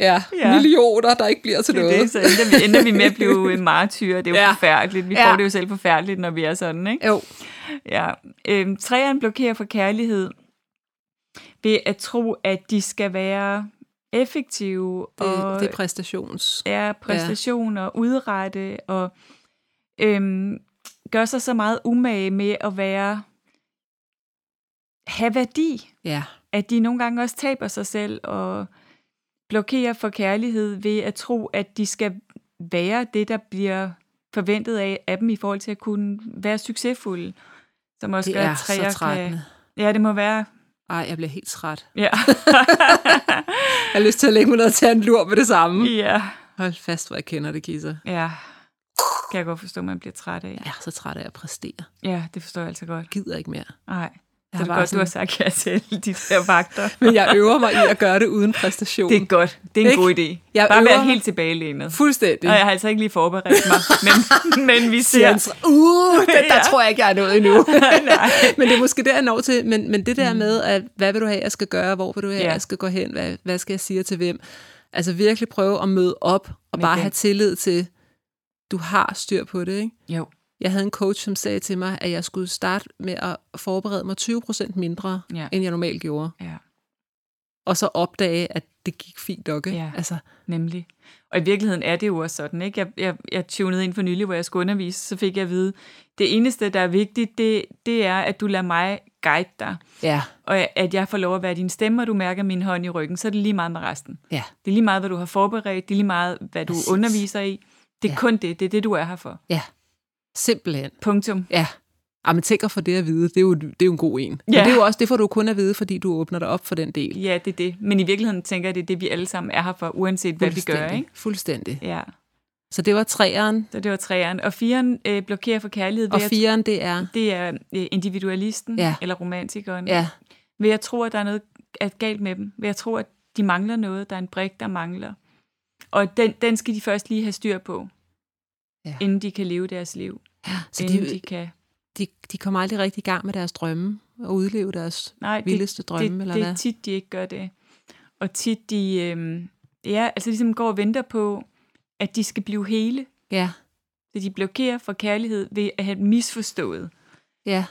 [SPEAKER 2] ja,
[SPEAKER 1] Ja.
[SPEAKER 2] ja. millioner, der ikke bliver til
[SPEAKER 1] det er det.
[SPEAKER 2] noget.
[SPEAKER 1] Så ender vi, ender vi med at blive øh, martyrer. Det er jo ja.
[SPEAKER 2] Ja.
[SPEAKER 1] forfærdeligt. Vi ja.
[SPEAKER 2] Ja.
[SPEAKER 1] får det jo selv forfærdeligt, når vi er sådan, ikke?
[SPEAKER 2] Jo.
[SPEAKER 1] Ja. Øhm, træerne blokerer for kærlighed ved at tro, at de skal være effektive og
[SPEAKER 2] Det, det er præstations.
[SPEAKER 1] er præstationer, ja. udrette og øhm, gør sig så meget umage med at være have værdi,
[SPEAKER 2] Ja.
[SPEAKER 1] at de nogle gange også taber sig selv og blokerer for kærlighed ved at tro, at de skal være det, der bliver forventet af, af dem i forhold til at kunne være succesfulde. Som også
[SPEAKER 2] Det
[SPEAKER 1] gør, at
[SPEAKER 2] er
[SPEAKER 1] træer
[SPEAKER 2] så trættende.
[SPEAKER 1] Kan... Ja, det må være.
[SPEAKER 2] Ej, jeg bliver helt træt.
[SPEAKER 1] Ja.
[SPEAKER 2] Jeg har lyst til at lægge mig ned og tage en lur med det samme.
[SPEAKER 1] ja.
[SPEAKER 2] Hold fast, hvor jeg kender det, Kisser.
[SPEAKER 1] Ja. Kan jeg godt forstå, at man bliver træt af.
[SPEAKER 2] Jeg er så træt af at præstere.
[SPEAKER 1] Ja, det forstår jeg altså godt.
[SPEAKER 2] Gider ikke mere.
[SPEAKER 1] Nej.
[SPEAKER 2] Jeg
[SPEAKER 1] Det er
[SPEAKER 2] har bare
[SPEAKER 1] godt, du har
[SPEAKER 2] sådan-
[SPEAKER 1] sagt ja til alle de der vagter.
[SPEAKER 2] Men jeg øver mig i at gøre det uden præstation.
[SPEAKER 1] Det er godt. Det er en
[SPEAKER 2] Ikke?
[SPEAKER 1] god idé.
[SPEAKER 2] Jeg
[SPEAKER 1] Bare
[SPEAKER 2] øver
[SPEAKER 1] være
[SPEAKER 2] mig.
[SPEAKER 1] helt tilbagelænet.
[SPEAKER 2] fuldstændig.
[SPEAKER 1] Og jeg har altså ikke lige forberedt mig, men, men vi
[SPEAKER 2] siger
[SPEAKER 1] ser.
[SPEAKER 2] han så, uh, der, der
[SPEAKER 1] Ja.
[SPEAKER 2] tror jeg ikke, jeg er nået endnu. men det er måske det, jeg når til. Men, men det der med, at hvad vil du have, jeg skal gøre? Hvor vil du have,
[SPEAKER 1] Ja.
[SPEAKER 2] jeg skal gå hen? Hvad, hvad skal jeg sige til hvem? Altså virkelig prøve at møde op og
[SPEAKER 1] Med
[SPEAKER 2] bare
[SPEAKER 1] den.
[SPEAKER 2] have tillid til, du har styr på det, ikke?
[SPEAKER 1] Jo.
[SPEAKER 2] Jeg havde en coach, som sagde til mig, at jeg skulle starte med at forberede mig 20% mindre,
[SPEAKER 1] Ja.
[SPEAKER 2] ja. end jeg normalt gjorde.
[SPEAKER 1] Ja,
[SPEAKER 2] Og så opdage, at det gik fint nok. ikke?
[SPEAKER 1] Ja.
[SPEAKER 2] Altså,
[SPEAKER 1] nemlig. Og i virkeligheden er det jo også sådan, ikke? Jeg, jeg, jeg tunede ind for nylig, hvor jeg skulle undervise, så fik jeg at vide, det eneste, der er vigtigt, det, det er, at du lader mig guide dig,
[SPEAKER 2] ja,
[SPEAKER 1] og at jeg får lov at være din stemme, og du mærker min hånd i ryggen, så er det lige meget med resten.
[SPEAKER 2] ja,
[SPEAKER 1] Det er lige meget, hvad du har forberedt, det er lige meget, hvad du
[SPEAKER 2] Præcis.
[SPEAKER 1] underviser i. Det er
[SPEAKER 2] Ja.
[SPEAKER 1] kun det, det er det, du er her for.
[SPEAKER 2] ja. Simpelthen.
[SPEAKER 1] Punktum.
[SPEAKER 2] Ja. Ah, men tænk at få det at vide, det er jo, det er jo en god en. Men
[SPEAKER 1] Ja.
[SPEAKER 2] det, er jo også, det får du kun at vide, fordi du åbner dig op for den del.
[SPEAKER 1] Ja, det er det. Men i virkeligheden tænker jeg, det er det, vi alle sammen er her for, uanset hvad vi gør,
[SPEAKER 2] Fuldstændig.
[SPEAKER 1] ikke?
[SPEAKER 2] Fuldstændig.
[SPEAKER 1] Ja,
[SPEAKER 2] Så det var træeren,
[SPEAKER 1] så det var træeren. Og firen øh, blokerer for kærlighed.
[SPEAKER 2] og
[SPEAKER 1] ved at-
[SPEAKER 2] fireren, det er...
[SPEAKER 1] Det er øh, individualisten
[SPEAKER 2] Ja.
[SPEAKER 1] eller romantikeren.
[SPEAKER 2] Ja,
[SPEAKER 1] Ved at tro, at der er noget er galt med dem. Ved at tro, at de mangler noget. Der er en brik, der mangler. Og den, den skal de først lige have styr på,
[SPEAKER 2] Ja.
[SPEAKER 1] inden de kan leve deres liv.
[SPEAKER 2] så
[SPEAKER 1] inden de
[SPEAKER 2] de,
[SPEAKER 1] kan...
[SPEAKER 2] de, de kommer aldrig rigtig i gang med deres drømme, og udleve deres
[SPEAKER 1] Nej, det,
[SPEAKER 2] vildeste drømme,
[SPEAKER 1] det,
[SPEAKER 2] eller
[SPEAKER 1] det
[SPEAKER 2] hvad?
[SPEAKER 1] er tit, de ikke gør det. Og tit, de øhm, ja, altså ligesom går og venter på, at de skal blive hele.
[SPEAKER 2] Ja,
[SPEAKER 1] Så de blokerer for kærlighed ved at have misforstået.
[SPEAKER 2] ja.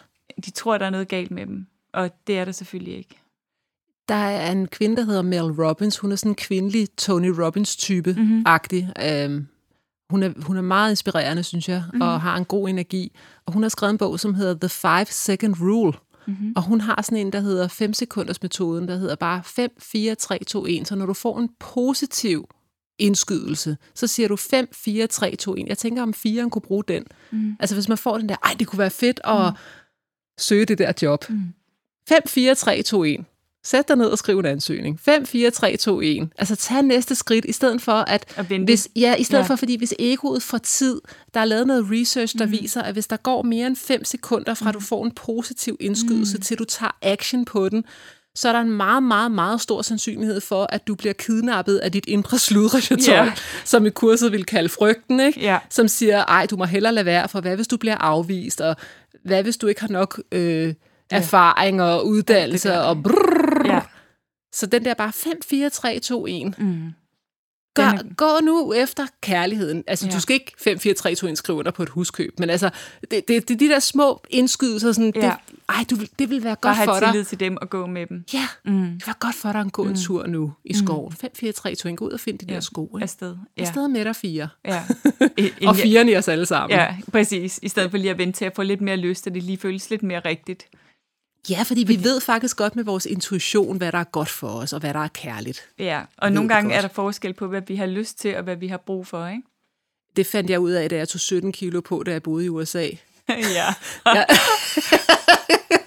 [SPEAKER 1] De tror, der er noget galt med dem, og det er der selvfølgelig ikke.
[SPEAKER 2] Der er en kvinde, der hedder Mel Robbins. Hun er sådan en kvindelig Tony
[SPEAKER 1] Mhm.
[SPEAKER 2] Robbins-type-agtig. Mm-hmm. Øhm, hun, er, hun er meget inspirerende, synes jeg, mm-hmm.
[SPEAKER 1] Mhm.
[SPEAKER 2] og har en god energi. Og hun har skrevet en bog, som hedder The Five Second Rule.
[SPEAKER 1] Mhm.
[SPEAKER 2] Mm-hmm. Og hun har sådan en, der hedder 5 sekunders metoden, der hedder bare 5, 4, 3, 2, 1. Så når du får en positiv indskydelse, så siger du 5, 4, 3, 2, 1. Jeg tænker, om fireren kunne bruge den. Mm.
[SPEAKER 1] Mhm.
[SPEAKER 2] Altså hvis man får den der, ej, det kunne være fedt at mm. søge det der job. Mm.
[SPEAKER 1] Mhm.
[SPEAKER 2] 5, 4, 3, 2, 1. Sæt dig ned og skriv en ansøgning. 5, 4, 3, 2, 1. Altså tag næste skridt, i stedet for at...
[SPEAKER 1] At vente.
[SPEAKER 2] Hvis, ja, i stedet
[SPEAKER 1] Ja.
[SPEAKER 2] ja. for, fordi hvis egoet får tid, der er lavet noget research, der mm. viser, at hvis der
[SPEAKER 1] Mm.
[SPEAKER 2] går mere end 5 sekunder fra, du får en positiv indskydelse, mm. til du tager action på den, så er der en meget, meget, meget stor sandsynlighed for, at du bliver kidnappet af dit indre sludrejatøj,
[SPEAKER 1] Ja.
[SPEAKER 2] yeah. som i kurset vil kalde frygten, ikke?
[SPEAKER 1] Ja.
[SPEAKER 2] som siger, ej, du må hellere lade være, for hvad hvis du bliver afvist, og hvad hvis du ikke har nok øh, erfaring og uddannelse,
[SPEAKER 1] der.
[SPEAKER 2] og brrr.
[SPEAKER 1] Ja.
[SPEAKER 2] Så den der bare 5, 4, 3, 2, 1.
[SPEAKER 1] Mm.
[SPEAKER 2] Gør,
[SPEAKER 1] Den
[SPEAKER 2] gå nu efter kærligheden. Altså,
[SPEAKER 1] Ja.
[SPEAKER 2] ja. du skal ikke 5, 4, 3, 2, 1 skrive under på et huskøb, men altså, det, det, det er de der små indskydelser, sådan,
[SPEAKER 1] Ja.
[SPEAKER 2] ja. det, ej, du, vil- det vil være
[SPEAKER 1] Bare
[SPEAKER 2] godt
[SPEAKER 1] have
[SPEAKER 2] for dig.
[SPEAKER 1] tillid til dem og gå med dem.
[SPEAKER 2] Ja,
[SPEAKER 1] Mm.
[SPEAKER 2] det var godt for dig at gå en tur nu i skoven. 5, 4, 3, 2, 1, gå ud og find de
[SPEAKER 1] Ja.
[SPEAKER 2] der sko. Ikke?
[SPEAKER 1] Afsted. Ja.
[SPEAKER 2] Afsted med dig fire.
[SPEAKER 1] Ja.
[SPEAKER 2] Og firen i os alle sammen.
[SPEAKER 1] Ja, præcis. I stedet for lige at vente til at få lidt mere lyst, og det lige føles lidt mere rigtigt.
[SPEAKER 2] Ja, fordi vi ved faktisk godt med vores intuition, hvad der er godt for os, og hvad der er kærligt.
[SPEAKER 1] Ja, og
[SPEAKER 2] Ved
[SPEAKER 1] nogle
[SPEAKER 2] det
[SPEAKER 1] gange
[SPEAKER 2] godt.
[SPEAKER 1] er der forskel på, hvad vi har lyst til, og hvad vi har brug for, ikke?
[SPEAKER 2] Det fandt jeg ud af, da jeg tog 17 kilo på, da jeg boede i USA.
[SPEAKER 1] ja.
[SPEAKER 2] Ja.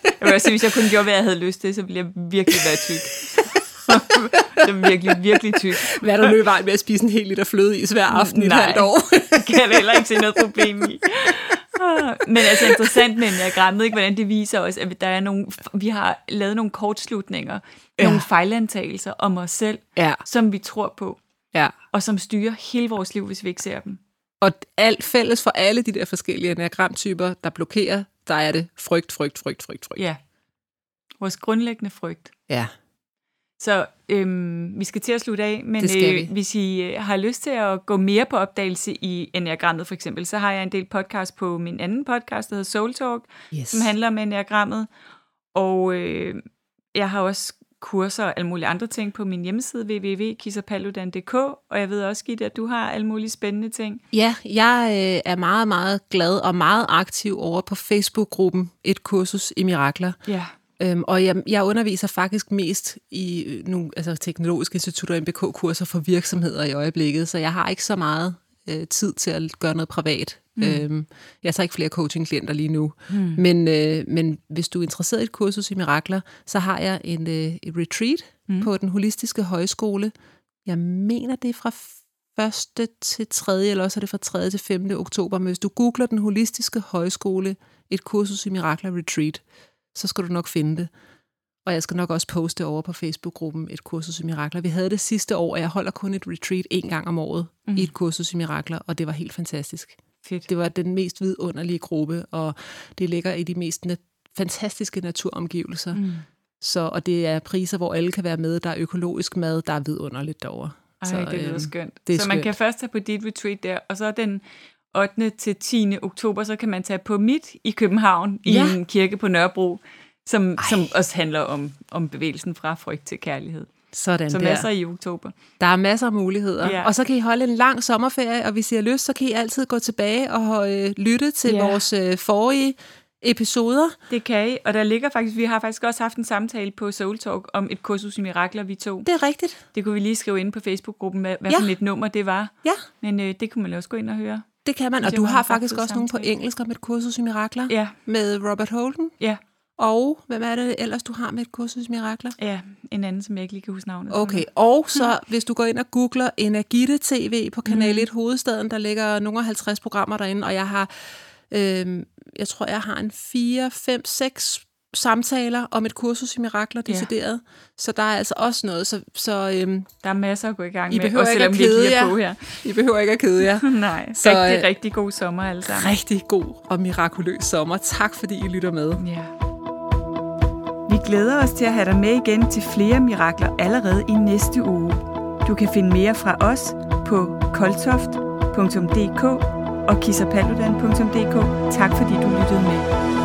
[SPEAKER 1] jeg vil også sige, hvis jeg kun gjorde, hvad jeg havde lyst til, så ville jeg virkelig være tyk. så virkelig, virkelig tyk.
[SPEAKER 2] Hvad er der nu i vejen med at spise en hel liter fløde i hver aften i et
[SPEAKER 1] Nej.
[SPEAKER 2] halvt år?
[SPEAKER 1] Det kan jeg da heller ikke se noget problem i. Ah, Men altså interessant med enagrammet, ikke, hvordan det viser os, at der er nogle, vi har lavet nogle kortslutninger, ja.
[SPEAKER 2] Ja.
[SPEAKER 1] nogle fejlantagelser om os selv,
[SPEAKER 2] ja,
[SPEAKER 1] som vi tror på,
[SPEAKER 2] ja.
[SPEAKER 1] og som styrer hele vores liv, hvis vi ikke ser dem.
[SPEAKER 2] Og alt fælles for alle de der forskellige enagramtyper, der blokerer, der er det frygt, frygt, frygt, frygt, frygt.
[SPEAKER 1] Ja. Vores grundlæggende frygt.
[SPEAKER 2] Ja.
[SPEAKER 1] Så øhm, vi skal til at slutte af, men
[SPEAKER 2] Det skal vi.
[SPEAKER 1] Øh, hvis I øh, har lyst til at gå mere på opdagelse i enagrammet for eksempel, så har jeg en del podcast på min anden podcast, der hedder Soul Talk,
[SPEAKER 2] Yes.
[SPEAKER 1] som handler om enagrammet. Og øh, jeg har også kurser og alle mulige andre ting på min hjemmeside www.kissapaludan.dk og jeg ved også, Gitte, at du har alle mulige spændende ting.
[SPEAKER 2] Ja, jeg øh, er meget, meget glad og meget aktiv over på Facebook-gruppen Et kursus i mirakler.
[SPEAKER 1] Ja.
[SPEAKER 2] Øhm, og jeg, jeg underviser faktisk mest i øh, nogle altså, teknologiske institutter og MBK-kurser for virksomheder i øjeblikket, så jeg har ikke så meget øh, tid til at gøre noget privat. Mm. Øhm, jeg tager ikke flere coaching-klienter lige nu. Mm. Men, øh, men hvis du er interesseret i et kursus i mirakler, så har jeg en øh, et retreat mm. på den holistiske højskole. Jeg mener, det er fra 1. til 3. eller også er det fra 3. til 5. oktober. Men hvis du googler den holistiske højskole, et kursus i mirakler retreat, så skal du nok finde det. Og jeg skal nok også poste over på Facebook-gruppen et kursus i mirakler. Vi havde det sidste år, og jeg holder kun et retreat en gang om året
[SPEAKER 1] Mhm.
[SPEAKER 2] mm. i et kursus i mirakler, og det var helt fantastisk.
[SPEAKER 1] Fedt.
[SPEAKER 2] Det var den mest vidunderlige gruppe, og det ligger i de mest na- fantastiske naturomgivelser.
[SPEAKER 1] Mhm.
[SPEAKER 2] Mm. Så, og det er priser, hvor alle kan være med. Der er økologisk mad, der er vidunderligt derovre.
[SPEAKER 1] Ej, så, det lyder
[SPEAKER 2] øhm,
[SPEAKER 1] skønt.
[SPEAKER 2] det er
[SPEAKER 1] så man
[SPEAKER 2] skønt.
[SPEAKER 1] kan først tage på dit retreat der, og så den 8. til 10. oktober, så kan man tage på mit i København, i
[SPEAKER 2] Ja.
[SPEAKER 1] en kirke på Nørrebro, som, som også handler om, om bevægelsen fra frygt til kærlighed,
[SPEAKER 2] Sådan
[SPEAKER 1] som
[SPEAKER 2] der.
[SPEAKER 1] er så i oktober.
[SPEAKER 2] Der er masser af muligheder.
[SPEAKER 1] Ja.
[SPEAKER 2] Ja. Og så kan I holde en lang sommerferie, og hvis I har lyst, så kan I altid gå tilbage og øh, lytte til
[SPEAKER 1] Ja.
[SPEAKER 2] ja. vores øh, forrige episoder.
[SPEAKER 1] Det kan I, og der ligger faktisk, vi har faktisk også haft en samtale på Soul Talk om et kursus i mirakler, vi tog.
[SPEAKER 2] Det er rigtigt.
[SPEAKER 1] Det kunne vi lige skrive ind på Facebook-gruppen, hvad, hvad
[SPEAKER 2] Ja.
[SPEAKER 1] for et nummer det var,
[SPEAKER 2] Ja,
[SPEAKER 1] men øh, det kunne man også gå ind og høre.
[SPEAKER 2] det kan man.
[SPEAKER 1] Det
[SPEAKER 2] Og du
[SPEAKER 1] var
[SPEAKER 2] har
[SPEAKER 1] en ret
[SPEAKER 2] faktisk
[SPEAKER 1] fed
[SPEAKER 2] også nogle på
[SPEAKER 1] samtale.
[SPEAKER 2] engelsk om et kursus i mirakler.
[SPEAKER 1] Ja,
[SPEAKER 2] Med Robert Holden.
[SPEAKER 1] ja,
[SPEAKER 2] Og hvem er det ellers, du har med et kursus i mirakler?
[SPEAKER 1] ja, en anden, som jeg ikke lige kan huske navnet. på nu.
[SPEAKER 2] Okay, og så hvis du går ind og googler Energite TV på Kanal 1 Hovedstaden, der ligger nogle 50 programmer derinde, og jeg har, øhm, jeg tror, jeg har en 4, 5, 6 samtaler om et kursus i mirakler,
[SPEAKER 1] Ja.
[SPEAKER 2] decideret. Så der er altså også noget, så, så øhm,
[SPEAKER 1] Der er masser at gå i gang
[SPEAKER 2] I
[SPEAKER 1] med,
[SPEAKER 2] behøver
[SPEAKER 1] også
[SPEAKER 2] ikke at
[SPEAKER 1] selvom vi ikke
[SPEAKER 2] kede
[SPEAKER 1] lige er
[SPEAKER 2] jer.
[SPEAKER 1] på her.
[SPEAKER 2] I behøver ikke at kede jer.
[SPEAKER 1] Nej, så,
[SPEAKER 2] Så,
[SPEAKER 1] rigtig, øh...
[SPEAKER 2] øh,
[SPEAKER 1] rigtig god sommer alle sammen.
[SPEAKER 2] Rigtig god og mirakuløs sommer. Tak fordi I lytter med.
[SPEAKER 1] Ja. Vi glæder os til at have dig med igen til flere mirakler allerede i næste uge. Du kan finde mere fra os på koltoft.dk og kissapaludan.dk. Tak fordi du lyttede med.